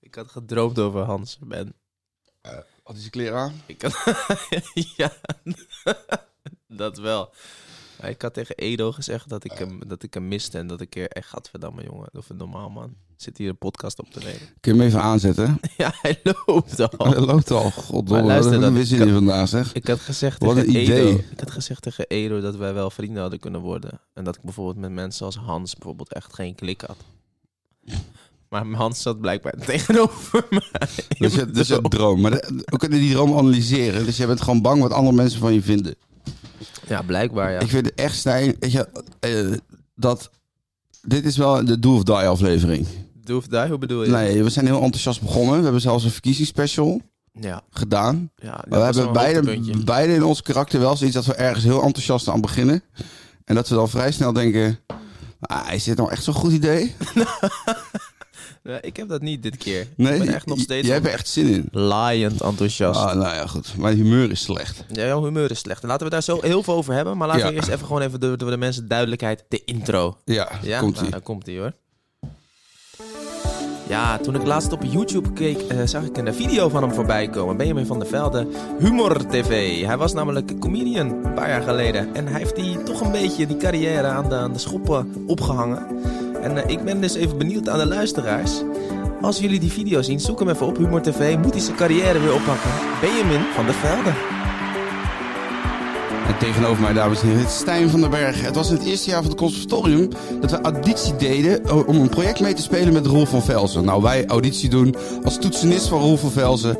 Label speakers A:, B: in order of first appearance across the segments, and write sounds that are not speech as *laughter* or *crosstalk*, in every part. A: Ik had gedroomd over Hans, Ben.
B: Had hij zijn kleren aan?
A: Ik had... *laughs* ja, dat wel. Maar ik had tegen Edo gezegd dat ik hem, dat ik hem miste en dat ik er echt gadverdamme jongen, of een normaal man, zit hier een podcast op te nemen. *laughs*
B: Kun je hem even aanzetten?
A: Ja, hij loopt al.
B: Hij *laughs* loopt al. Goddomme,
A: Oh. Maar luister,
B: dat
A: dat
B: wist je
A: kan-
B: niet
A: *laughs*
B: vandaag, zeg.
A: Ik had gezegd
B: Wat
A: tegen
B: een idee.
A: Edo, ik had gezegd tegen Edo dat wij wel vrienden hadden kunnen worden en dat ik bijvoorbeeld met mensen als Hans bijvoorbeeld echt geen klik had. Maar Hans zat blijkbaar *laughs* tegenover mij.
B: Dus je, dus je
A: Oh.
B: droom. Maar de- we kunnen die droom analyseren. Dus je bent gewoon bang wat andere mensen van je vinden.
A: Ja, blijkbaar ja.
B: Ik vind het echt snij. Weet je, eh, dat. Dit is wel de Do of Die aflevering.
A: Doe of die, hoe bedoel je?
B: Nee, we zijn heel enthousiast begonnen. We hebben zelfs een verkiezingsspecial
A: Ja,
B: gedaan.
A: ja dat
B: Maar
A: was
B: we hebben
A: wel een
B: beide,
A: hoogtepuntje.
B: beide in ons karakter wel zoiets dat we ergens heel enthousiast aan beginnen. En dat we dan vrij snel denken... Ah, is dit nou echt zo'n goed idee?
A: Ja, ik heb dat niet dit keer.
B: Nee,
A: ik ben
B: *laughs*
A: echt nog steeds
B: jij hebt er echt zin in.
A: laaiend enthousiast.
B: Ah, nou ja, goed. Mijn humeur is slecht.
A: Ja, jouw humeur is slecht. Laten we daar zo heel veel over hebben. Maar laten we
B: Ja.
A: eerst even gewoon even door, door de mensen duidelijkheid. De intro.
B: Ja,
A: Ja,
B: komt
A: nou,
B: ie.
A: daar komt ie hoor. Ja, toen ik laatst op YouTube keek, eh, zag ik een video van hem voorbij komen. Benjamin van der Velde, Humor TV. Hij was namelijk comedian een paar jaar geleden. En hij heeft die, toch een beetje die carrière aan de, aan de schoppen opgehangen. En eh, ik ben dus even benieuwd aan de luisteraars. Als jullie die video zien, zoek hem even op Humor TV. Moet hij zijn carrière weer oppakken? Benjamin van der Velde.
B: En tegenover mij, dames en heren, zit Stijn van den Berg. Het was in het eerste jaar van het conservatorium dat we auditie deden o- om een project mee te spelen met Roel van Velzen. Nou, wij auditie doen als toetsenist van Roel van Velzen.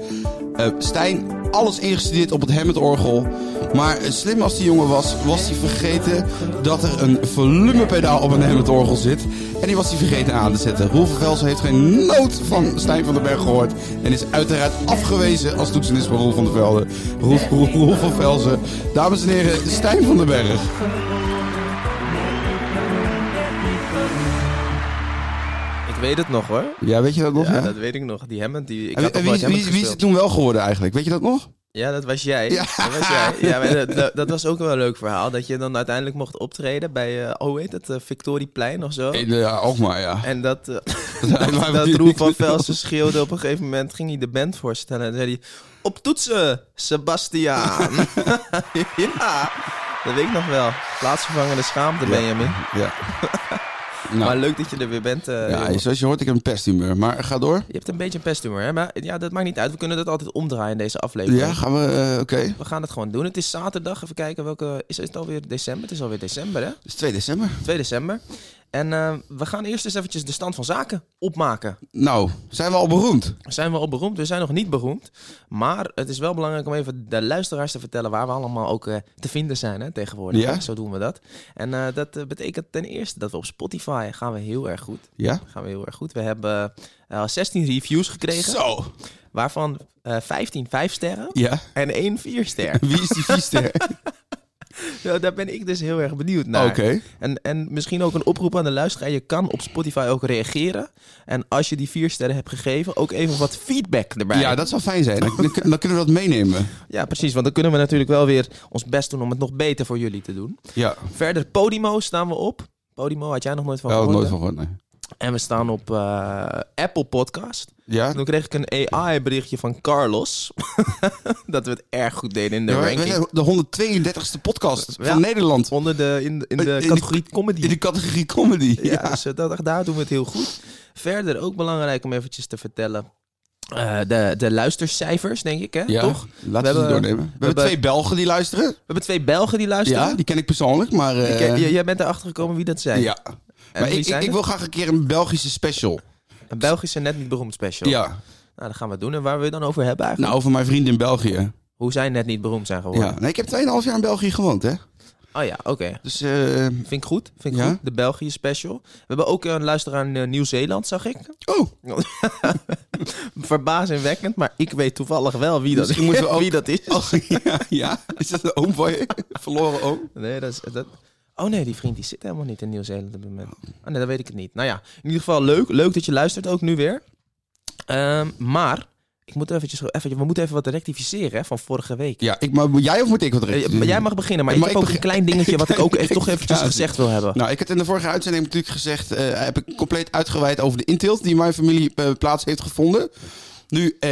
B: Eh, Stijn, alles ingestudeerd op het Hammond-orgel. Maar eh, slim als die jongen was, was hij vergeten dat er een volumepedaal op een Hammond-orgel zit. En die was hij vergeten aan te zetten. Roel van Velzen heeft geen noot van Stijn van den Berg gehoord. En is uiteraard afgewezen als toetsenist van Roel van der Velde. Roel, Roel, Roel van Velzen. Dames en heren, Stijn van den Berg.
A: Ik weet het nog hoor.
B: Ja, weet je dat nog?
A: Ja,
B: hè?
A: dat weet ik nog. Die Hammond, die, ik
B: En wie,
A: had
B: en
A: toch
B: wie,
A: wel
B: is- wie, is- wie is het toen wel geworden eigenlijk? Weet je dat nog?
A: Ja, dat was jij.
B: Ja.
A: Dat was jij. Ja, maar dat, dat, dat was ook wel een leuk verhaal. Dat je dan uiteindelijk mocht optreden bij, eh, oh, hoe heet het, eh, Victorieplein of zo.
B: Ja, ook maar, ja.
A: En dat, eh,
B: *laughs* Daar waren we
A: dat
B: niet
A: Roel van
B: mee
A: Velsen schreeuwde op een gegeven moment, ging hij de band voorstellen. En zei hij, op toetsen, Sebastiaan. *laughs* ja, dat weet ik nog wel. Plaatsvervangende schaamte, Benjamin.
B: Ja. Nou,
A: Maar leuk dat je er weer bent. eh,
B: ja,
A: jongen.
B: zoals je hoort, ik heb een pesthumeur. Maar ga door.
A: Je hebt een beetje een pesthumor, hè? Maar ja, dat maakt niet uit. We kunnen dat altijd omdraaien in deze aflevering.
B: Ja, gaan we... eh, Oké.
A: We gaan het gewoon doen. Het is zaterdag. Even kijken welke. Is het alweer december? Het is alweer december, hè?
B: Het is 2 december.
A: 2 december. En eh, we gaan eerst eens eventjes de stand van zaken opmaken.
B: Nou, zijn we al beroemd?
A: Zijn we al beroemd? We zijn nog niet beroemd. Maar het is wel belangrijk om even de luisteraars te vertellen waar we allemaal ook eh, te vinden zijn hè, tegenwoordig.
B: Ja.
A: Zo doen we dat. En eh, dat eh, betekent ten eerste dat we op Spotify gaan we heel erg goed.
B: Ja.
A: Gaan we heel erg goed. We hebben eh, al 16 reviews gekregen,
B: Zo.
A: waarvan eh 15 5 sterren
B: Ja.
A: en 1 4
B: *laughs*
A: ster.
B: Wie is die viester? Nou,
A: Nou, daar ben ik dus heel erg benieuwd naar.
B: Oké.
A: En, en misschien ook een oproep aan de luisteraar. Je kan op Spotify ook reageren. En als je die vier sterren hebt gegeven, ook even wat feedback erbij.
B: Ja, dat zou fijn zijn. Dan, dan kun- dan kunnen we dat meenemen.
A: Ja, precies. Want dan kunnen we natuurlijk wel weer ons best doen om het nog beter voor jullie te doen.
B: Ja.
A: Verder, Podimo staan we op. Podimo had jij nog nooit van
B: Daar had ik
A: gehoord,
B: nooit
A: hè?
B: van gehoord, nee.
A: En we staan op eh, Apple Podcast.
B: Ja?
A: Toen kreeg ik een AI-berichtje van Carlos. *laughs* dat we het erg goed deden in de
B: Ja, maar wij
A: ranking.
B: zijn de 132e podcast
A: Ja.
B: van Nederland.
A: Onder de, in, in
B: Eh, In
A: de
B: de-
A: categorie comedy.
B: In de categorie comedy.
A: Ja, dus eh, dat, daar doen we het heel goed. Verder ook belangrijk om eventjes te vertellen. eh, de, de luistercijfers, denk ik, hè? Toch?
B: Laten we, die
A: hebben-
B: doornemen. We, hebben
A: hebben-
B: twee Belgen die luisteren.
A: We hebben twee Belgen die luisteren.
B: Ja, die ken ik persoonlijk, maar... eh,
A: Ik- eh, j- jij bent erachter gekomen wie dat zijn.
B: ja. Maar
A: wie
B: ik,
A: zijn
B: ik, ik
A: het?
B: wil graag een keer een Belgische special.
A: Een Belgische net niet beroemd special.
B: Ja.
A: Nou, dat gaan we doen. En waar we het dan over hebben eigenlijk?
B: Nou, over mijn vrienden in België.
A: Hoe zij net niet beroemd zijn geworden.
B: Ja. Nee, ik heb 2,5 jaar in België gewoond, hè.
A: Oh ja, oké.
B: Dus eh,
A: Vind ik goed. Vind ik
B: Ja?
A: goed. De België special. We hebben ook een luisteraar in eh, Nieuw-Zeeland, zag ik.
B: Oh,
A: Verbazingwekkend, maar ik weet toevallig wel wie dat,
B: Misschien Dus moeten we ook-
A: *laughs* wie dat is.
B: *laughs* oh, ja, ja. Is dat een oom van je? Verloren oom?
A: Nee, dat is... Dat... Oh nee, die vriend die zit helemaal niet in Nieuw-Zeeland op dit moment. Oh nee, dat weet ik het niet. Nou ja, in ieder geval leuk. Leuk dat je luistert ook nu weer. Ehm, maar Ik moet eventjes, even, we moeten even wat rectificeren hè, van vorige week.
B: Ja, ik, maar jij of moet ik wat
A: Eh,
B: rekenen?
A: maar jij mag beginnen, maar
B: Maar
A: ik
B: ik
A: heb ook een
B: begin-
A: klein dingetje wat ik ook echt toch
B: *laughs* Ik-
A: eventjes
B: Ja.
A: gezegd wil hebben.
B: Nou, ik heb het in de vorige uitzending natuurlijk gezegd... eh, heb ik compleet uitgeweid over de intilt die mijn familie eh, plaats heeft gevonden. Nu eh,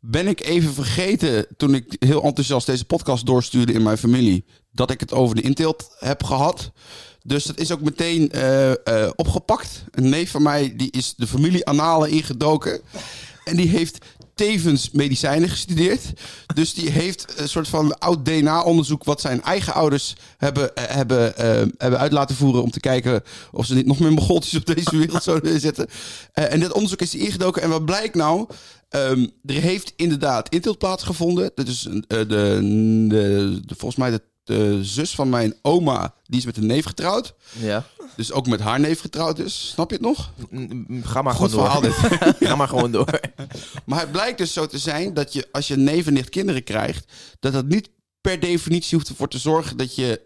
B: ben ik even vergeten, toen ik heel enthousiast deze podcast doorstuurde in mijn familie... dat ik het over de intilt heb gehad. Dus dat is ook meteen eh, eh, opgepakt. Een neef van mij die is de familie Analen ingedoken. En die heeft tevens medicijnen gestudeerd. Dus die heeft een soort van oud DNA-onderzoek... wat zijn eigen ouders hebben, eh, hebben, eh, hebben uit laten voeren... om te kijken of ze niet nog meer mogoltjes op deze wereld zouden zetten. Eh, en dat onderzoek is ingedoken. En wat blijkt nou? Ehm, er heeft inderdaad intilt plaatsgevonden. Dat is een, eh, de, de, de- volgens mij de, de zus van mijn oma... die is met een neef getrouwd.
A: Ja.
B: Dus ook met haar neef getrouwd is. Snap je het nog?
A: Mm, mm, Ga maar
B: Goed
A: gewoon
B: verhaal
A: door. *laughs*
B: dit.
A: Ga maar gewoon door.
B: Maar het blijkt dus zo te zijn dat je als je neef en nicht kinderen krijgt, dat dat niet per definitie hoeft ervoor te zorgen dat je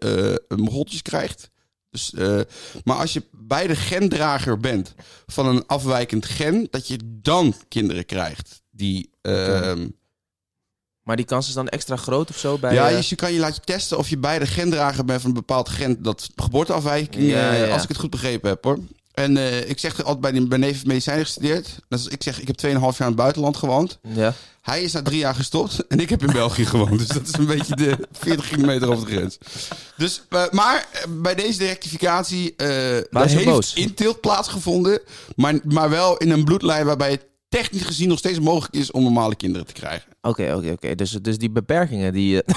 B: eh mogoltjes krijgt. Dus, eh, maar als je beide gendrager bent van een afwijkend gen, dat je dan kinderen krijgt. Die, ehm,
A: Maar die kans is dan extra groot of zo bij...
B: ja,
A: eh,
B: dus je kan je laten testen of je beide gendrager bent van een bepaald gen dat geboorteafwijking,
A: Ja,
B: eh,
A: ja.
B: als ik het goed begrepen heb hoor. En eh, ik zeg altijd bij die- mijn neef heeft medicijnen gestudeerd. Dus ik zeg, ik heb 2,5 jaar in het buitenland gewoond.
A: ja.
B: Hij is na drie jaar gestopt en ik heb in België gewoond. Dus dat is een beetje de 40 kilometer over de grens. Dus, eh, maar eh, bij deze rectificatie eh
A: Waar
B: dat
A: is hij
B: heeft
A: boos?
B: intilt plaatsgevonden. Maar, maar wel in een bloedlijn waarbij het technisch gezien nog steeds mogelijk is om normale kinderen te krijgen.
A: Oké, oké, oké. Dus, dus die beperkingen, die, eh,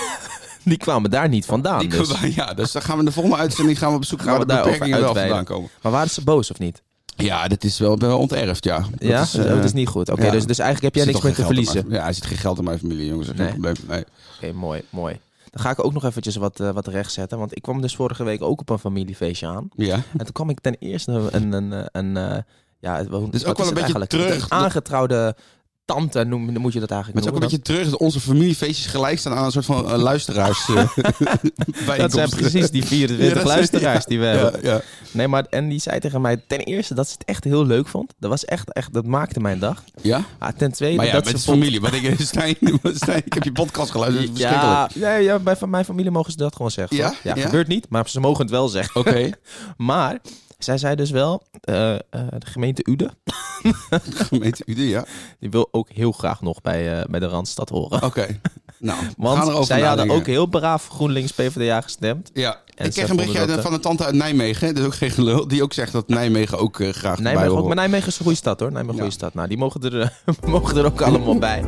A: *laughs* die kwamen daar niet vandaan.
B: Die
A: dus.
B: kunnen we- ja, dus dan gaan we in de volgende uitzending gaan we op zoek
A: Gaan
B: naar waar
A: we
B: de
A: daarover
B: beperkingen wel
A: uitweiden.
B: vandaan komen.
A: Maar waren ze boos of niet?
B: Ja, dat is wel, wel onterfd, ja. Dat
A: ja, Oh,
B: is, eh,
A: dat is niet goed. Oké,
B: ja.
A: dus, dus eigenlijk heb jij
B: zit
A: niks
B: toch
A: meer te
B: geen geld in
A: verliezen.
B: mijn- Ja, hij zit geen geld in mijn familie, jongens. Dat is geen probleem. Nee.
A: Oké, mooi, mooi. Dan ga ik ook nog eventjes wat, eh, wat rechtzetten. Want ik kwam dus vorige week ook op een familiefeestje aan.
B: Ja.
A: En toen kwam ik ten eerste een... een, een, een, eh, ja, het- hoe-
B: Dus
A: wat
B: ook wel
A: is het
B: een beetje
A: eigenlijk?
B: terug.
A: Een aangetrouwde tante noem, moet je dat
B: Maar
A: eigenlijk
B: het is ook
A: noemen.
B: een beetje terug dat onze familiefeestjes gelijk staan aan een soort van eh,
A: *laughs*
B: luisteraars. eh,
A: dat zijn
B: bijeenkomsten.
A: precies *laughs* die eh, 24
B: Ja, dat-
A: luisteraars die we hebben.
B: Ja, ja.
A: Nee, maar en die zei tegen mij ten eerste dat ze het echt heel leuk vond. Dat was echt, echt, dat maakte mijn dag.
B: ja?
A: Ah, ten tweede
B: Maar ja,
A: dat
B: met
A: ze
B: de
A: vond...
B: familie. Wat ik, eh, *laughs* Stijn, Stijn, ik heb je podcast geluisterd. dat is verschrikkelijk.
A: Ja, ja, ja, bij van mijn familie mogen ze dat gewoon zeggen.
B: Ja?
A: hoor. Ja,
B: Ja?
A: gebeurt niet, maar ze mogen het wel zeggen.
B: Oké.
A: Maar zij zei dus wel, eh, eh, de gemeente Uden,
B: *laughs* Gemeente Ude, ja.
A: die wil ook heel graag nog bij, eh, bij de Randstad horen.
B: Oké. Nou, Oh, we gaan erover
A: Want zij hadden
B: nadenken.
A: ook heel braaf GroenLinks PvdA gestemd.
B: Ja,
A: En
B: ik
A: ze
B: kreeg een
A: vonden
B: berichtje
A: dat, eh,
B: uit- van een tante uit Nijmegen. Dat is ook geen gelul. Die ook zegt dat Nijmegen ook eh, graag bij
A: Nijmegen ook,
B: hoort.
A: maar Nijmegen is een goede stad hoor. Nijmegen een
B: Ja.
A: goede stad. Nou, die mogen er, eh, *laughs* mogen er ook allemaal bij.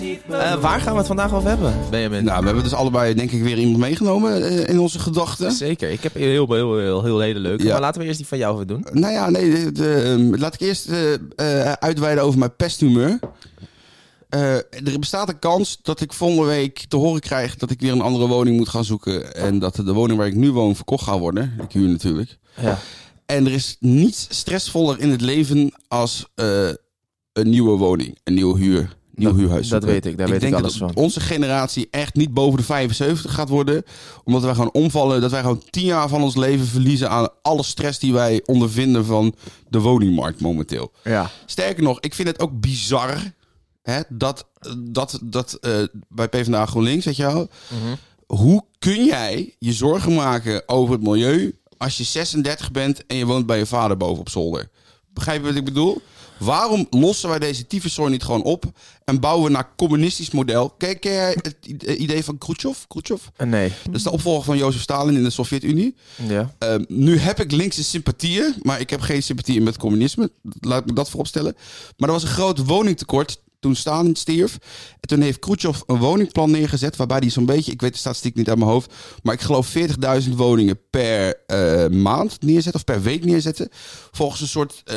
A: Eh, waar gaan we het vandaag over hebben, Benjamin?
B: Nou, we hebben dus allebei denk ik weer iemand meegenomen eh, in onze gedachten.
A: Zeker, ik heb heel, heel, heel, heel hele leuke.
B: Ja.
A: Maar laten we eerst die van jou even doen.
B: Nou ja, nee, de- de, ehm, laat ik eerst eh, eh, uitweiden over mijn pesthumeur. Eh, er bestaat een kans dat ik volgende week te horen krijg dat ik weer een andere woning moet gaan zoeken. En dat de woning waar ik nu woon verkocht gaat worden. Ik huur natuurlijk.
A: Ja.
B: En er is niets stressvoller in het leven als eh, een nieuwe woning, een nieuwe huur. Nieuw
A: Dat-
B: huurhuis.
A: dat
B: zoeken.
A: weet ik, daar weet ik
B: denk dat
A: alles van.
B: Onze generatie echt niet boven de 75 gaat worden. Omdat wij gaan omvallen. Dat wij gewoon 10 jaar van ons leven verliezen aan alle stress die wij ondervinden van de woningmarkt momenteel.
A: ja.
B: Sterker nog, ik vind het ook bizar hè, dat, dat, dat eh, bij PvdA GroenLinks, weet je wel. Hoe kun jij je zorgen maken over het milieu als je 36 bent en je woont bij je vader boven op zolder? Begrijp je wat ik bedoel? Waarom lossen wij deze tyfuszooi niet gewoon op en bouwen we naar communistisch model? Kijk, ken jij het i- idee van Khrushchev? Khrushchev?
A: Eh, Nee.
B: Dat is de opvolger van Jozef Stalin in de Sovjet-Unie.
A: Ja.
B: Ehm, nu heb ik linkse sympathieën, maar ik heb geen sympathieën met communisme. Laat ik me dat vooropstellen. Maar er was een groot woningtekort toen Stalin stierf. En toen heeft Khrushchev een woningplan neergezet... waarbij hij zo'n beetje, ik weet de statistiek niet uit mijn hoofd... maar ik geloof 40.000 woningen per eh, maand neerzet of per week neerzetten. Volgens een soort eh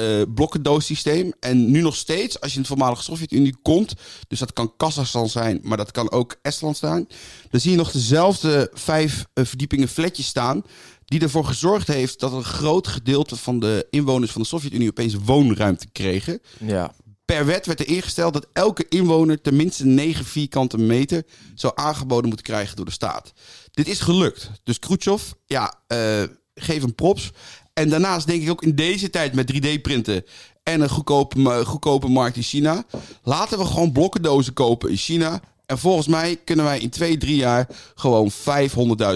B: blokkendoossysteem. En nu nog steeds, als je in de voormalige Sovjet-Unie komt... dus dat kan Kazachstan zijn, maar dat kan ook Estland staan... dan zie je nog dezelfde vijf eh, verdiepingen flatjes staan die ervoor gezorgd heeft dat een groot gedeelte van de inwoners van de Sovjet-Unie opeens woonruimte kregen.
A: Ja.
B: Per wet werd er ingesteld dat elke inwoner ten minste 9 vierkante meter zou aangeboden moeten krijgen door de staat. Dit is gelukt. Dus Khrushchev, ja, eh, geef hem props. En daarnaast denk ik ook in deze tijd met 3D-printen en een goedkope, ma- goedkope markt in China. Laten we gewoon blokkendozen kopen in China. En volgens mij kunnen wij in twee, drie jaar gewoon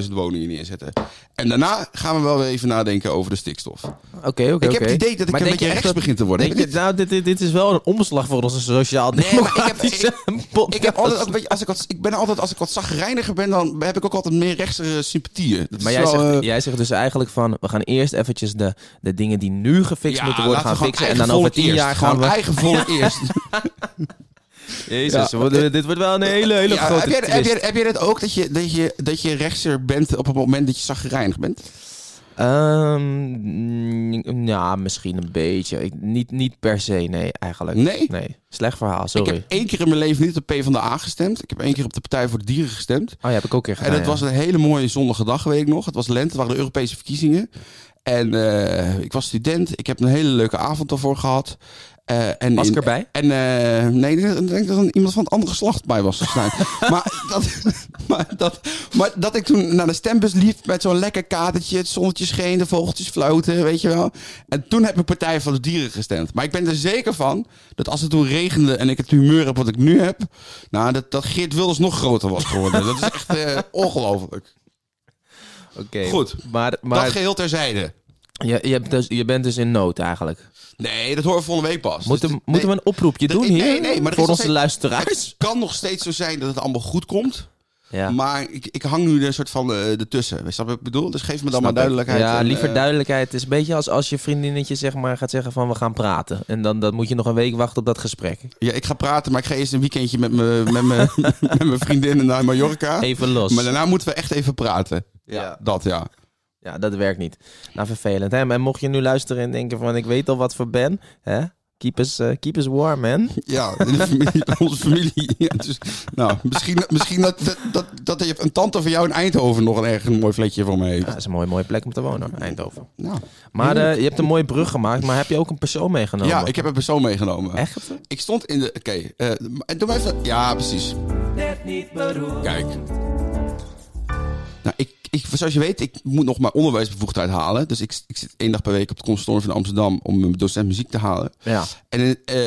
B: 500.000 woningen neerzetten. En daarna gaan we wel weer even nadenken over de stikstof.
A: Oké, oké,
B: Ik heb
A: oké.
B: het idee dat ik
A: Maar
B: een
A: denk je
B: beetje
A: echt
B: rechts
A: dat-
B: begin te worden.
A: Denk je, nou, dit, dit, dit is wel een omslag voor onze sociaal-democratische podcast.
B: Ik, heb altijd ook een beetje, als ik, wat, ik ben altijd, als ik wat zagrijniger ben, dan heb ik ook altijd meer rechtse eh, sympathieën. Dat
A: Maar
B: is
A: jij
B: wel,
A: zegt,
B: eh,
A: jij zegt dus eigenlijk van, we gaan eerst eventjes de, de dingen die nu gefixt
B: ja,
A: moeten worden
B: laten we
A: gaan
B: gewoon
A: fixen. En
B: eigen
A: dan over
B: volk
A: tien
B: eerst.
A: jaar gaan
B: Gewoon
A: we...
B: *laughs* eigen volk
A: *laughs*
B: eerst.
A: Jezus,
B: Ja.
A: we- dit- dit wordt wel een hele, hele
B: Ja,
A: grote
B: heb, jij,
A: twist.
B: heb, jij, heb jij dat ook, dat je, dat, je, dat je rechtser bent op het moment dat je zagrijnig bent?
A: Ehm, mm, ja, misschien een beetje. Ik, niet, niet per se, nee, eigenlijk.
B: Nee?
A: Nee, slecht verhaal,
B: Ik
A: sorry.
B: heb één keer in mijn leven niet op PvdA gestemd. Ik heb één keer op de Partij voor de Dieren gestemd.
A: Oh ja, heb ik ook een keer gedaan.
B: En dat
A: ja.
B: was een hele mooie zonnige dag, weet ik nog. Het was lente, het waren de Europese verkiezingen. En eh, ik was student. Ik heb een hele leuke avond daarvoor gehad. Eh, en
A: Was ik
B: in-
A: erbij?
B: En eh, nee, ik denk dat er iemand van het andere geslacht bij was gesneden.
A: *laughs*
B: maar, dat, maar, dat, maar dat ik toen naar de stembus liep met zo'n lekker katertje. Het zonnetje scheen, de vogeltjes fluiten, weet je wel. En toen heb ik Partij van de Dieren gestemd. Maar ik ben er zeker van dat als het toen regende en ik het humeur heb wat ik nu heb. Nou, dat, dat Geert Wilders nog groter was geworden. dat is echt
A: *laughs*
B: eh, ongelooflijk.
A: Oké.
B: Goed.
A: Maar,
B: Maar... Dat
A: maar
B: geheel terzijde.
A: je, je, hebt dus, je bent dus in nood eigenlijk.
B: Nee, dat horen we volgende week pas.
A: Moeten,
B: Dus dit-
A: moeten we een oproepje
B: dat-
A: doen
B: nee,
A: hier?
B: nee, maar er
A: voor
B: is dus- nog
A: onze
B: steeds- *laughs*
A: luisteraars?
B: Het kan nog steeds zo zijn dat het allemaal goed komt.
A: Ja.
B: Maar ik, ik hang nu een soort van eh ertussen. Snap je wat ik bedoel? Dus geef me dan
A: Snap
B: maar
A: ik.
B: duidelijkheid.
A: Ja,
B: en,
A: liever
B: eh,
A: duidelijkheid. Het is een beetje als als je vriendinnetje zeg maar, gaat zeggen van we gaan praten. En dan, dan moet je nog een week wachten op dat gesprek.
B: Ja, ik ga praten, maar ik ga eerst een weekendje met mijn met me-
A: *laughs*
B: met mijn vriendinnen naar Mallorca.
A: Even los.
B: Ah. Maar daarna moeten we echt even praten.
A: Ja.
B: Dat ja.
A: Ja, dat werkt niet. Nou, vervelend. Hè? En mocht je nu luisteren en denken van ik weet al wat voor ben. Hè? Keep, us, eh, keep us warm, man.
B: Ja, in de familie- onze familie. Ja, dus, nou, misschien, misschien dat, dat, dat, dat je een tante van jou in Eindhoven nog een erg een mooi vlekje voor me heeft.
A: Ja, dat is een mooie, mooie plek om te wonen, hoor, Eindhoven.
B: Nou,
A: Maar eh, je hebt een mooie brug gemaakt, maar heb je ook een persoon meegenomen?
B: ja, ik heb een persoon meegenomen.
A: Echt?
B: Ik stond in de. Oké, eh, en doe maar even. Ja, precies. Kijk. Nou, ik, ik, zoals je weet, ik moet nog mijn onderwijsbevoegdheid halen. Dus ik, ik zit één dag per week op het conservatorium van Amsterdam om mijn docent muziek te halen.
A: Ja.
B: En eh,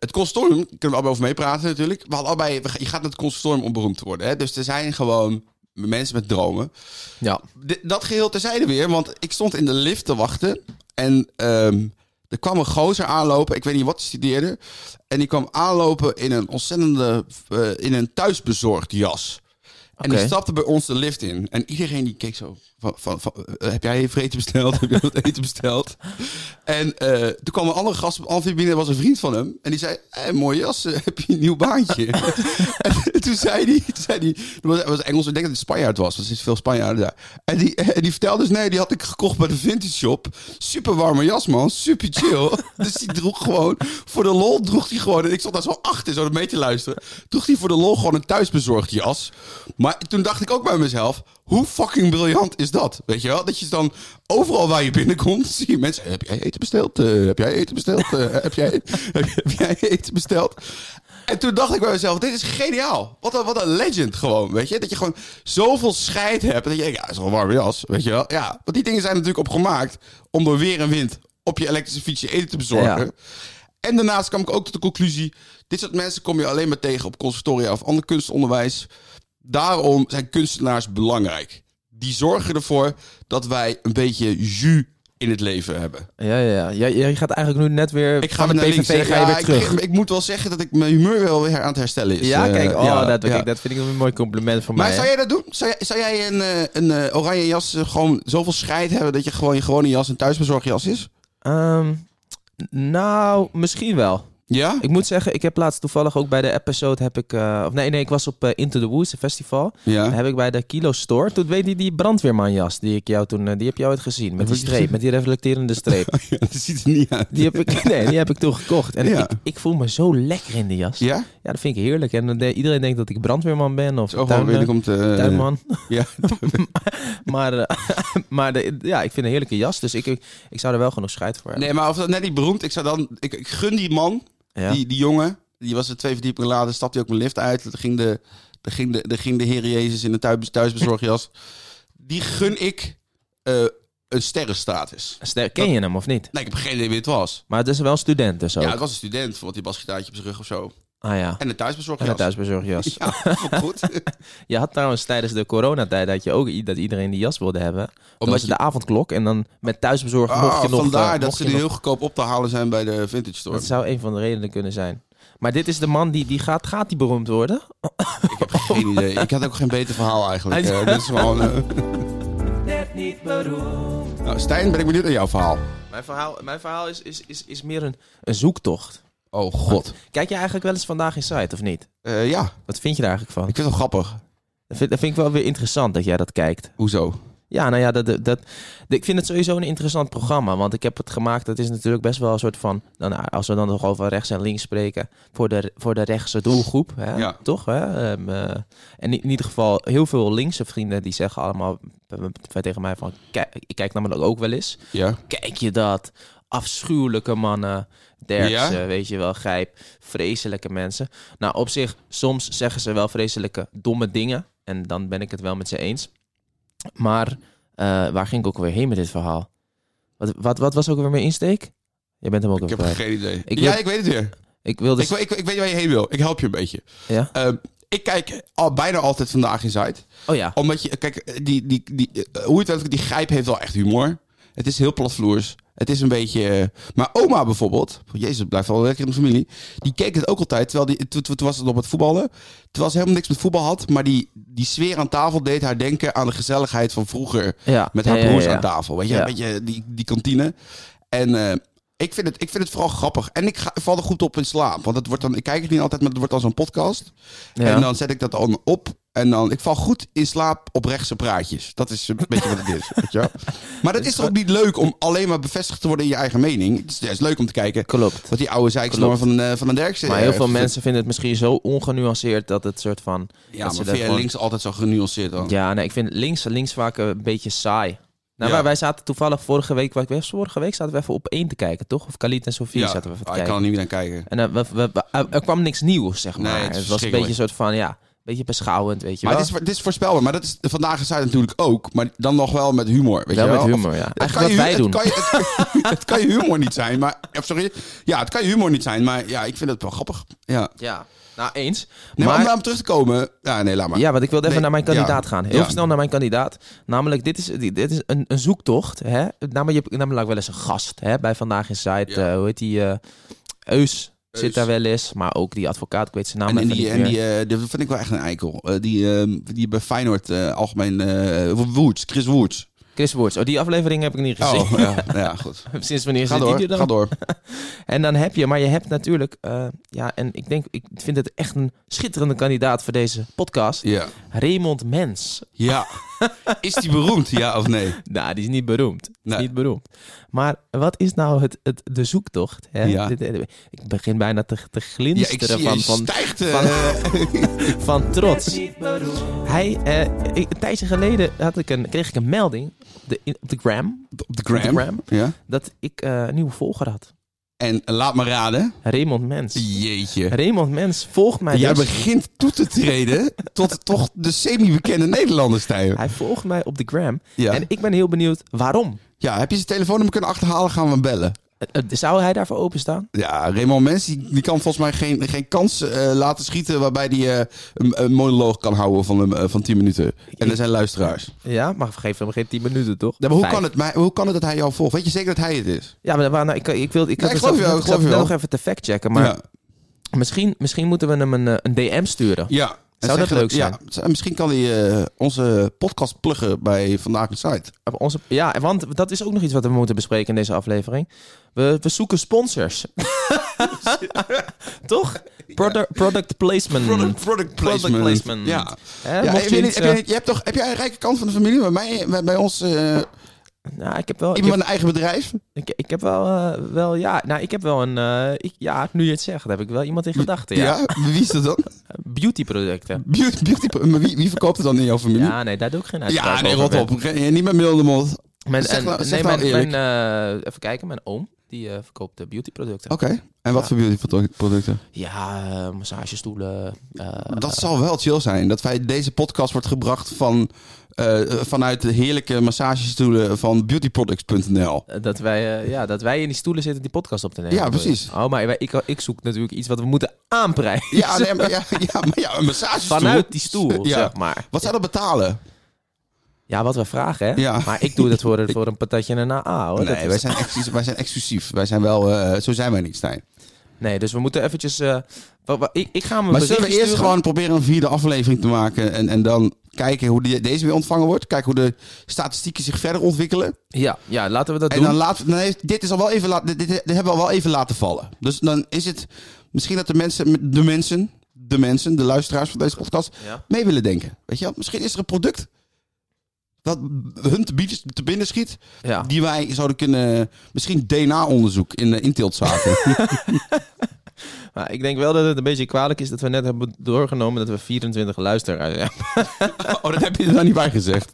B: het conservatorium, daar kunnen we allebei over meepraten natuurlijk. We hadden allebei, we ga- je gaat naar het conservatorium om beroemd te worden. Hè? Dus er zijn gewoon mensen met dromen.
A: Ja.
B: D- dat geheel terzijde weer, want ik stond in de lift te wachten. En ehm, er kwam een gozer aanlopen. Ik weet niet wat hij studeerde. En die kwam aanlopen in een ontzettende. eh, in een thuisbezorgd jas. En
A: Oké.
B: die stapte bij ons de lift in. En iedereen die keek zo. Van, van, van, eh, heb jij even eten besteld? *laughs* heb jij wat eten besteld? En eh, toen kwam een andere gast op Amphibie binnen. was een vriend van hem. En die zei, hey, mooie jas, eh, heb je een nieuw baantje? en toen zei hij, toen zei hij dat was, was Engels, ik denk dat het Spanjaard was. want Er zitten veel Spanjaarden daar. En die, en die vertelde dus, nee, die had ik gekocht bij de vintage shop. Super warme jas, man. Super chill. *laughs* dus die droeg gewoon, voor de lol droeg hij gewoon... En ik stond daar zo achter, zo mee te luisteren. Droeg hij voor de lol gewoon een thuisbezorgd jas. Maar toen dacht ik ook bij mezelf, hoe fucking briljant is dat? Weet je wel? Dat je dan overal waar je binnenkomt, zie je mensen. Heb jij eten besteld? Eh, heb jij eten besteld? Eh, heb, jij, heb, heb jij eten besteld? En toen dacht ik bij mezelf, dit is geniaal. Wat een, wat een legend gewoon, weet je? Dat je gewoon zoveel scheid hebt. Dat je denkt, ja, dat is gewoon een warme jas, weet je wel? Ja, want die dingen zijn natuurlijk opgemaakt om door weer en wind op je elektrische fietsje eten te bezorgen.
A: Ja.
B: En daarnaast kwam ik ook tot de conclusie... dit soort mensen kom je alleen maar tegen op conservatoria of ander kunstonderwijs. Daarom zijn kunstenaars belangrijk. Die zorgen ervoor dat wij een beetje jus in het leven hebben.
A: Ja, ja, ja. Jij, jij gaat eigenlijk nu net weer
B: Ik ga
A: van
B: weer
A: de
B: naar links. hè.
A: PVV ga je
B: Ja,
A: weer
B: ik,
A: terug.
B: ik moet wel zeggen dat ik mijn humeur wel weer aan het herstellen is.
A: Ja,
B: Eh,
A: kijk, oh,
B: ja,
A: dat,
B: ja.
A: dat vind ik een mooi compliment van
B: Maar
A: mij.
B: zou
A: hè?
B: jij dat doen? Zou jij, zou jij een, eh, een eh, oranje jas eh, gewoon zoveel scheid hebben dat je gewoon je gewone jas een thuisbezorgd jas is?
A: Ehm, nou, misschien wel.
B: Ja?
A: Ik moet zeggen, ik heb laatst toevallig ook bij de episode heb ik, eh, of nee, nee, ik was op eh, Into the Woods, een festival.
B: Ja.
A: Heb ik bij de Kilo Store. Toen weet je die brandweermanjas die ik jou toen, eh, die heb jij ooit gezien met die
B: ik
A: streep, met die reflecterende
B: *laughs*
A: streep.
B: Ja, *laughs* dat ziet er niet uit.
A: Die heb ik, *laughs* nee, die heb ik toen gekocht. En
B: Ja.
A: ik, ik voel me zo lekker in de jas.
B: Ja?
A: Ja, dat vind ik heerlijk. En dan de- iedereen denkt dat ik brandweerman ben of
B: Zo gewoon
A: tuin-
B: binnenkomt... eh,
A: tuinman.
B: Ja.
A: *laughs* Maar, eh, *laughs* maar de- ja, ik vind een heerlijke jas, dus ik, ik, ik zou er wel genoeg scheid voor hebben.
B: Nee, maar of dat net niet beroemd, ik zou dan... Ik, ik gun die man
A: Ja.
B: Die, die jongen, die was er twee verdiepingen later, stapte hij ook mijn lift uit. Er ging de, er ging de, er ging de Heer Jezus in een thuis, thuisbezorgjas. Die gun ik eh, een sterrenstatus.
A: Stel, Ken je hem of niet?
B: Nee, ik heb geen idee wie het was.
A: Maar het is wel een student dus ook.
B: Ja, het was een student, want die basgitaartje op zijn rug of zo.
A: Ah ja.
B: En een thuisbezorgd
A: En een
B: jas.
A: thuisbezorgjas.
B: *laughs* Ja, vond ik
A: *laughs*
B: goed.
A: Je had trouwens tijdens de coronatijd dat je ook i- dat iedereen die jas wilde hebben. Omdat was
B: je-
A: de avondklok en dan met thuisbezorgd mocht je
B: Ah,
A: nog.
B: vandaar
A: eh,
B: dat
A: mocht
B: ze
A: je
B: die
A: nog-
B: heel goedkoop op te halen zijn bij de vintage store.
A: Dat zou een van de redenen kunnen zijn. Maar dit is de man die, die gaat, gaat die beroemd worden.
B: Ik heb geen idee. Ik had ook geen beter verhaal eigenlijk.
A: Hij-
B: Eh, dit is gewoon, eh, Nou, Stijn, ben ik benieuwd naar jouw verhaal.
A: Mijn verhaal, mijn verhaal is, is, is, is meer een, een zoektocht.
B: Oh god.
A: Kijk je eigenlijk wel eens vandaag in site of niet?
B: Eh, ja,
A: Wat vind je daar eigenlijk van?
B: ik vind het wel grappig.
A: Dat vind, dat vind ik wel weer interessant dat jij dat kijkt.
B: Hoezo?
A: Ja, nou ja, dat, dat, dat- ik vind het sowieso een interessant programma. Want ik heb het gemaakt, dat is natuurlijk best wel een soort van... Dan, als we dan nog over rechts en links spreken... voor de, voor de rechtse doelgroep, hè?
B: Ja.
A: toch? Hè? Ehm, eh, en in, in ieder geval heel veel linkse vrienden... die zeggen allemaal eh, tegen mij van... Kijk, ik kijk namelijk ook wel eens.
B: Ja.
A: Kijk je dat? Afschuwelijke mannen, dergse, weet je wel, grijp. Vreselijke mensen. Nou, op zich, soms zeggen ze wel vreselijke domme dingen. En dan ben ik het wel met ze eens. Maar eh, waar ging ik ook weer heen met dit verhaal? Wat, wat, wat was ook weer mijn insteek? Je bent hem ook
B: Ik
A: weer
B: heb
A: kwijt.
B: geen idee.
A: Ik
B: ja,
A: wil-
B: ik weet het weer.
A: Ik wilde...
B: Ik, wil- ik, ik weet waar je heen wil. Ik help je een beetje.
A: Ja?
B: Ehm, ik kijk al, bijna altijd vandaag in Zuid.
A: Oh ja.
B: Omdat je, kijk, die, die, die, eh, hoe het ook, die grijp heeft wel echt humor. Het is heel platvloers. Het is een beetje. eh, Maar oma bijvoorbeeld, Jezus, het blijft wel lekker in de familie. Die keek het ook altijd. Terwijl die, toen, toen- toen was het op het voetballen. Terwijl ze helemaal niks met voetbal had. Maar die, die sfeer aan tafel deed haar denken aan de gezelligheid van vroeger.
A: ja.
B: Met haar
A: ja, ja,
B: broers
A: ja.
B: aan tafel. Weet je,
A: Ja.
B: een beetje die, die kantine. En eh, ik, vind het, ik vind het vooral grappig. En ik ga, val er goed op in slaap. Want het wordt dan, ik kijk het niet altijd, maar het wordt dan zo'n podcast.
A: Ja.
B: En dan zet ik dat dan op. En dan, ik val goed in slaap op rechtse praatjes. Dat is een beetje wat het is. Weet je wel?
A: *laughs*
B: Maar dat is toch ook niet leuk om alleen maar bevestigd te worden in je eigen mening. Het is juist leuk om te kijken
A: Klopt.
B: wat die oude zeiksnorm
A: Klopt.
B: van, eh, van een Derksen...
A: Maar
B: eh,
A: heel veel
B: vindt.
A: mensen vinden het misschien zo ongenuanceerd dat het soort van...
B: Ja,
A: dat ze daar
B: maar vind jij
A: gewoon-
B: links altijd zo genuanceerd dan?
A: Ja, nee, ik vind links, links vaak een beetje saai. Nou,
B: Ja.
A: wij- wij zaten toevallig vorige week, wat ik weet, vorige week zaten we even op één te kijken, toch? Of Khalid en Sofie
B: Ja,
A: zaten we even te
B: ah, ik
A: kijken.
B: kan er niet meer naar kijken.
A: En eh, we- we- we- eh, er kwam niks nieuws, zeg
B: Nee,
A: maar.
B: het
A: het,
B: is
A: was een beetje een
B: verschrikkelijk.
A: soort van, ja, een beetje beschouwend, weet je
B: Maar
A: wel.
B: het is, het is voorspelbaar. Maar dat is vandaag is hij natuurlijk ook. Maar dan nog wel met humor. Weet je
A: wel
B: wel?
A: met
B: Of-
A: humor, ja.
B: het
A: Eigenlijk wat
B: kan
A: wij
B: je
A: doen.
B: hu- Het kan, je, het, kan, het kan je humor niet zijn, maar... of sorry. Ja, het kan je humor niet zijn, maar ja, ik vind het wel grappig. Ja.
A: Ja, nou eens.
B: Nee, maar,
A: maar,
B: om daarop terug te komen... Ja, nee, laat maar.
A: ja, want ik wilde even
B: Nee,
A: naar mijn kandidaat
B: ja,
A: gaan. Heel
B: ja.
A: snel naar mijn kandidaat. Namelijk, dit is, dit is een, een zoektocht. Hè? Namelijk, je hebt namelijk wel eens een gast hè? bij Vandaag in Zuid.
B: Ja.
A: hoe heet die? eh, Eus.
B: Eus.
A: Zit daar wel eens, maar ook die advocaat, ik weet zijn naam
B: En, en
A: even
B: die,
A: niet
B: en
A: meer.
B: die, eh, die vind ik wel echt een eikel. Eh, die, ehm, die bij Feyenoord eh, algemeen... eh Woods, Chris Woods.
A: Chris Woerts. Oh, die aflevering heb ik niet gezien. *laughs*
B: Oh, ja, *laughs* ja, goed.
A: Sinds wanneer
B: Ga
A: zit
B: door,
A: die er
B: ga
A: dan?
B: door.
A: En dan heb je, maar je hebt natuurlijk... eh, ja, en ik denk, ik vind het echt een schitterende kandidaat voor deze podcast.
B: Ja.
A: Raymond Mens.
B: ja. Is die beroemd, ja of
A: *laughs*
B: nee?
A: Nou, die is niet beroemd. Die
B: Nee.
A: is niet beroemd. Maar wat is nou het, het, de zoektocht? Hè?
B: Ja.
A: Dit- eh, Ik begin bijna te, te
B: Ja, ik
A: glinsteren
B: zie je
A: van, van,
B: stijgt... eh,
A: van trots. Hij, eh, ik- een tijdje geleden had ik een, kreeg ik een melding op de, op de gram...
B: op de
A: op de
B: gram.
A: gram.
B: Ja.
A: dat ik eh, een nieuwe volger had.
B: En laat me raden.
A: Raymond Mens.
B: Jeetje.
A: Raymond Mens volgt mij
B: Jij
A: dus.
B: begint toe te
A: *laughs*
B: treden tot toch de semi-bekende Nederlanders, Stijn.
A: Hij volgt mij op de gram.
B: Ja.
A: En ik ben heel benieuwd waarom.
B: Ja, heb je zijn telefoonnummer kunnen achterhalen? Gaan we hem bellen.
A: Eh, eh, Zou hij daarvoor openstaan?
B: Ja, Raymond Mens, die, die kan volgens mij geen, geen kans eh, laten schieten... waarbij die eh, een, een monoloog kan houden van, een, eh, van 10 minuten. En er zijn luisteraars.
A: Ja, maar geef hem geen 10 minuten, toch?
B: Ja, maar hoe,
A: Vijf.
B: kan het, maar hoe kan het dat hij jou volgt? Weet je zeker dat hij het is?
A: Ja, maar, maar nou, ik, ik, wil, ik,
B: Ja,
A: had
B: ik
A: het
B: geloof je wel,
A: zelf-
B: ik geloof je
A: net
B: wel.
A: nog even te factchecken. Maar
B: ja.
A: misschien, misschien moeten we hem een, eh, een DM sturen.
B: ja. En
A: dat
B: zeggen-
A: leuk zijn?
B: Ja, en misschien kan hij eh, onze podcast pluggen bij Vandaag de Site.
A: Op Onze, ja, want dat is ook nog iets wat we moeten bespreken in deze aflevering. We, we zoeken sponsors. *laughs* toch? Product, product placement. Product placement.
B: Ja.
A: Hè,
B: Ja,
A: mocht
B: heb,
A: je
B: je, niet-
A: iets,
B: heb, je,
A: eh, Oh,
B: niet- je hebt toch, heb jij een rijke kant van de familie? Bij, mij, bij, bij ons, eh,
A: nou, ik heb wel... ik
B: iemand met een eigen bedrijf.
A: Ik, ik heb wel, eh, wel, ja, nou, ik heb wel een, eh, ik, ja, nu je het zegt, heb ik wel iemand in gedachten, ja.
B: Wie is dat dan?
A: Beautyproducten.
B: Beauty, beauty, maar wie, wie verkoopt het dan in jouw familie? Ja,
A: Ja, nee, daar doe ik geen uitspraak
B: nee,
A: over,
B: rot
A: Ben.
B: op. Geen- Niet met mail in de mond. Oké.
A: Mijn,
B: Zeg
A: en-
B: nou-
A: nee,
B: zeg nou
A: mijn,
B: eerlijk.
A: mijn, eh, even kijken, mijn oom, die eh, verkoopt eh, beautyproducten.
B: Oh. En wat
A: Ja.
B: voor beauty producten?
A: Ja, eh, massagestoelen. eh,
B: dat zal wel chill zijn. Dat wij deze podcast wordt gebracht van eh, vanuit de heerlijke massagestoelen van beautyproducts.nl.
A: Eh, Dat wij, eh, ja, dat wij in die stoelen zitten die podcast op te nemen.
B: Ja,
A: bedoel je?
B: precies.
A: Oh, maar wij- ik, ik zoek natuurlijk iets wat we moeten aanprijzen. *laughs*
B: Ja, nee, maar, ja, ja, maar ja, een massagestoel.
A: Vanuit Oh, die stoel,
B: Ja.
A: zeg maar.
B: Wat zou dat betalen?
A: Ja, wat we vragen, hè?
B: Ja.
A: Maar ik doe dat voor,
B: *laughs*
A: een- voor een patatje en een AA, hoor. Dat
B: nee,
A: is-
B: wij zijn, exclusief, wij zijn exclusief. Wij zijn wel, eh, zo zijn wij niet, Stijn.
A: nee, dus we moeten eventjes... eh, wa- wa- ik, ik ga hem een
B: Maar zullen we
A: berichtje
B: eerst
A: sturen.
B: gewoon proberen een vierde aflevering te maken en, en dan kijken hoe die, deze weer ontvangen wordt? Kijken hoe de statistieken zich verder ontwikkelen?
A: Ja, ja, laten we dat
B: En
A: doen.
B: dan laten nee, dit is al wel even laat, dit, dit- dit hebben we al wel even laten vallen. Dus dan is het misschien dat de mensen, de mensen, de mensen, de luisteraars van deze podcast
A: Ja.
B: mee willen denken. Weet je wel? Misschien is er een product dat hun te, bieden, te binnen schiet,
A: Ja.
B: die wij zouden kunnen, misschien DNA-onderzoek in eh, de inteeltzaken.
A: *laughs* Maar ik denk wel dat het een beetje kwalijk is dat we net hebben doorgenomen dat we 24 luisteraars hebben.
B: *laughs* oh, dat heb je er dan niet bij
A: *laughs*
B: gezegd.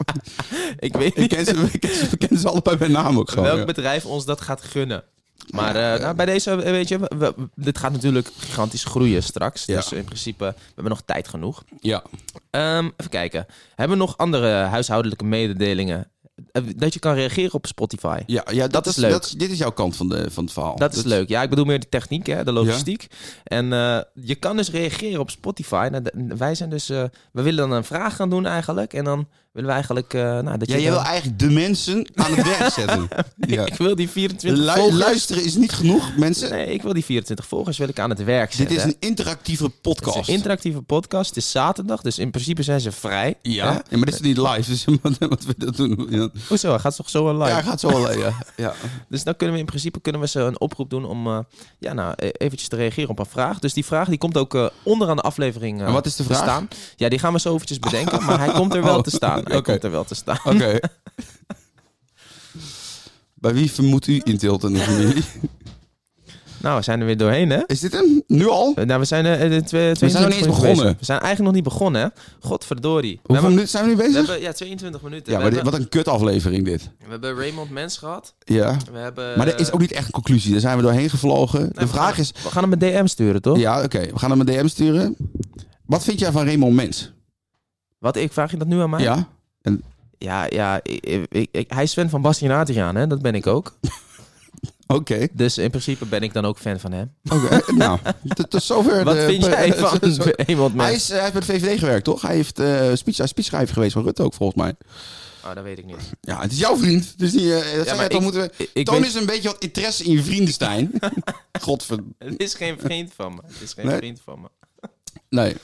A: ik weet
B: Ik
A: niet
B: ken ze, ik ken ze, ik ken ze allebei bij naam ook gewoon.
A: welk
B: ja.
A: bedrijf ons dat gaat gunnen. Maar eh, nou, bij deze, eh, weet je, we- we- dit gaat natuurlijk gigantisch groeien straks.
B: Ja.
A: Dus in principe, we hebben nog tijd genoeg.
B: Ja.
A: Ehm, even kijken. Hebben we nog andere huishoudelijke mededelingen? Eh, Dat je kan reageren op Spotify.
B: Ja, ja, dat,
A: is
B: is
A: leuk.
B: Dat, is- dit is jouw kant van, de, van het verhaal.
A: Dat is leuk. Ja, ik bedoel meer de techniek, hè, de logistiek. En eh, je kan dus reageren op Spotify. Nou, de- wij zijn dus, eh, we willen dan een vraag gaan doen eigenlijk. En dan willen we eigenlijk, eh, nou, dat
B: Ja,
A: je...
B: jij
A: dan-
B: wil eigenlijk de mensen aan het werk zetten. Ja.
A: *laughs* Ik wil die 24
B: Lu-
A: volgers...
B: luisteren is niet genoeg, mensen.
A: Nee, ik wil die 24 volgers wil ik aan het werk
B: Dit
A: zetten.
B: is
A: hè.
B: een interactieve
A: Het is
B: podcast.
A: een interactieve podcast. Het is zaterdag, dus in principe zijn ze vrij.
B: ja. ja, maar dit is niet live, dus *laughs* wat, wat we dat doen. Ja,
A: Hoezo? Hij gaat toch zo online?
B: ja gaat zo wel. Ja. Ja.
A: Dus dan kunnen we in principe kunnen we ze een oproep doen om eh, ja, nou, eh, eventjes te reageren op een vraag. Dus die vraag die komt ook eh, onderaan de aflevering eh,
B: En wat is de
A: te
B: vraag? Oh.
A: staan. Ja, die gaan we zo eventjes bedenken, maar hij komt er wel te staan. Hij
B: Oké.
A: komt er wel te staan.
B: Oké.
A: *laughs*
B: Bij wie vermoedt u inteelt in de familie?
A: Nou, we zijn er weer doorheen, hè?
B: Is dit hem? Nu al?
A: Eh, Nou, we zijn, eh, eh, twee,
B: zijn nog niet eens
A: 22 minuten
B: begonnen.
A: bezig. We zijn eigenlijk nog niet begonnen, hè? Godverdorie. We
B: Hoeveel
A: hebben,
B: minuten zijn we nu
A: we
B: bezig?
A: hebben ja, 22 minuten.
B: Ja,
A: we,
B: maar dit,
A: hebben,
B: wat een kut aflevering dit.
A: we hebben Raymond Mens gehad.
B: Ja.
A: We hebben,
B: Maar er is ook niet echt een conclusie. Daar zijn we doorheen gevlogen. De
A: Nou, we
B: vraag
A: gaan-
B: is...
A: We gaan hem een DM sturen, toch?
B: Ja, oké. We gaan hem een DM sturen. Wat vind jij van Raymond Mens?
A: Wat, ik vraag je dat nu aan mij?
B: Ja?
A: ja, ja, ik- ik- ik- hij is fan van Bastiaan Adriaan, hè? Dat ben ik ook.
B: Oké.
A: Dus in principe ben ik dan ook fan van hem. *laughs*
B: Oké. nou, tot, tot zover.
A: Wat
B: de-
A: vind
B: *laughs*
A: jij van
B: tot
A: *laughs*
B: zover.
A: iemand
B: Hij,
A: met...
B: is, eh, hij heeft met de VVD gewerkt, toch? Hij heeft eh speech, hij is speechschrijver geweest van Rutte ook, volgens mij.
A: Oh, dat weet ik
B: *laughs*
A: niet.
B: Ja, het is jouw vriend. Dus die, eh, dat zou jij
A: maar
B: toch
A: ik-
B: moeten...
A: Ik, ik
B: Toon
A: weet,
B: is een beetje wat interesse in je vrienden, Stijn. *laughs* Godver...
A: het is geen vriend van me. Het is geen
B: Nee?
A: vriend van me.
B: Nee.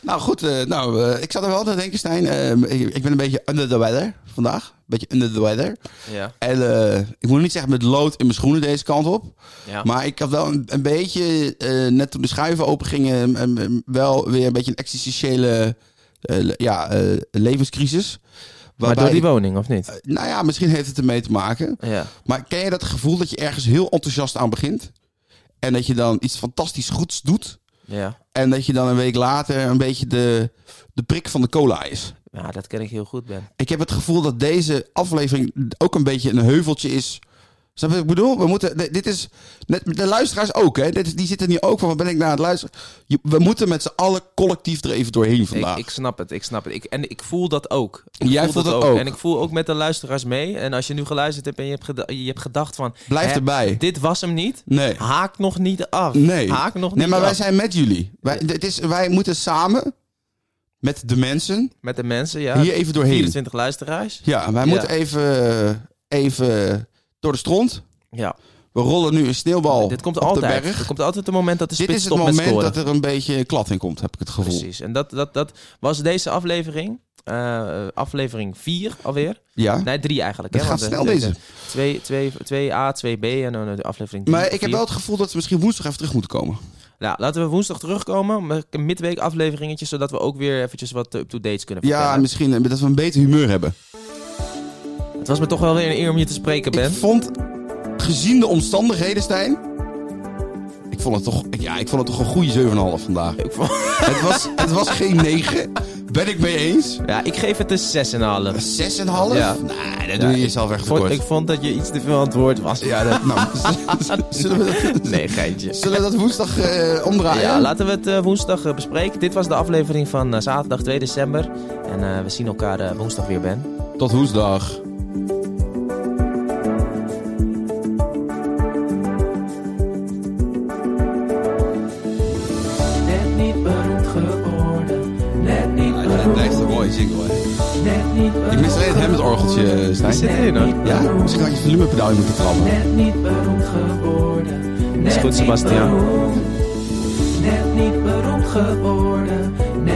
B: Nou goed, eh, nou, eh, ik zat er wel aan te denken, Stijn. Eh, ik, ik ben een beetje under the weather vandaag. Een beetje under the weather.
A: Ja,
B: En eh, ik moet niet zeggen met lood in mijn schoenen deze kant op.
A: ja.
B: Maar ik had wel een, een beetje, eh, net toen de schuiven open gingen, wel weer een beetje een existentiële eh, le- ja, eh, levenscrisis.
A: maar
B: Waarbij Eh.
A: door die
B: ik-
A: woning, of niet?
B: nou ja, misschien heeft het ermee te maken.
A: Ja.
B: Maar ken je dat gevoel dat je ergens heel enthousiast aan begint? En dat je dan iets fantastisch goeds doet.
A: Ja.
B: En dat je dan een week later een beetje de, de prik van de cola is.
A: ja, dat ken ik heel goed, Ben.
B: Ik heb het gevoel dat deze aflevering ook een beetje een heuveltje is. Snap je wat ik bedoel? We moeten, dit- dit is, net, de luisteraars ook, hè? Dit, is- die zitten hier ook van, wat ben ik naar het luisteren? Je- we moeten met z'n allen collectief er even doorheen vandaag.
A: Ik, ik snap het, ik snap het. Ik, en ik voel dat ook. Ik
B: Jij voelt dat ook.
A: En ik voel ook met de luisteraars mee. En als je nu geluisterd hebt en je hebt, geda- je hebt gedacht van...
B: Blijf
A: hè,
B: erbij.
A: Dit was hem niet.
B: Nee.
A: Haak nog niet af.
B: Nee.
A: Haak nog Ah, niet
B: Nee, maar
A: af.
B: wij zijn met jullie. Wij, dit is, wij moeten samen met de mensen
A: Met de mensen, ja.
B: hier even doorheen.
A: 24 luisteraars.
B: Ja, wij
A: Ja.
B: moeten even, even door de stront.
A: Ja.
B: We rollen nu een sneeuwbal
A: dit komt
B: op de
A: altijd.
B: berg.
A: Er komt altijd een moment dat de
B: Dit
A: spits
B: is het
A: stopt met
B: moment
A: scoren.
B: dat er een beetje klad in komt, heb ik het gevoel.
A: Precies. En dat, dat, dat was deze aflevering. Eh, aflevering 4 alweer.
B: Ja.
A: Nee, 3 eigenlijk.
B: Het
A: hè,
B: gaat
A: want,
B: snel
A: eh,
B: deze.
A: 2, 2, 2A, 2B en dan eh, de aflevering 3.
B: Maar ik heb wel het gevoel dat we misschien woensdag even terug moeten komen.
A: Nou, laten we woensdag terugkomen met een midweek afleveringetje, zodat we ook weer eventjes wat eh, up-to-dates kunnen
B: Ja,
A: vertellen.
B: misschien eh, dat we een beter humeur hebben.
A: Het was me toch wel weer een eer om je te spreken, Ben.
B: Ik vond, gezien de omstandigheden, Stijn... Ik vond het toch, ja, ik vond het toch een goede 7,5 vandaag.
A: Ik vond-
B: het, was, het was geen 9. Ben ik mee eens? 6,5?
A: Ja, ik geef het een 6,5. Ja.
B: Nee, dat
A: Ja,
B: doe je
A: ik
B: jezelf echt
A: Ik vond,
B: tekort.
A: ik vond dat je iets te veel aan het woord was.
B: Ja, dat, nou, *laughs* zullen, we dat,
A: *laughs* Nee, geintje.
B: zullen we dat woensdag eh, omdraaien?
A: Ja, laten we het eh, woensdag eh, bespreken. Dit was de aflevering van eh, zaterdag 2 december. En eh, we zien elkaar eh, woensdag weer, Ben.
B: Tot woensdag.
C: Net niet beroemd geworden. Net niet
B: Dat
C: beroemd.
B: blijft een mooie single, hè.
C: Net niet beroemd.
B: Ik mis alleen het Hammond-orgeltje, eh, Stijn.
A: Zit
C: Net
A: erin, hoor.
C: niet
B: Ja,
C: beroemd.
B: misschien had je het volumepedaal in moeten trappen.
C: Net niet beroemd geworden. Net
A: goed,
C: niet
A: Sebastiaan.
C: beroemd. Net niet beroemd geworden. Net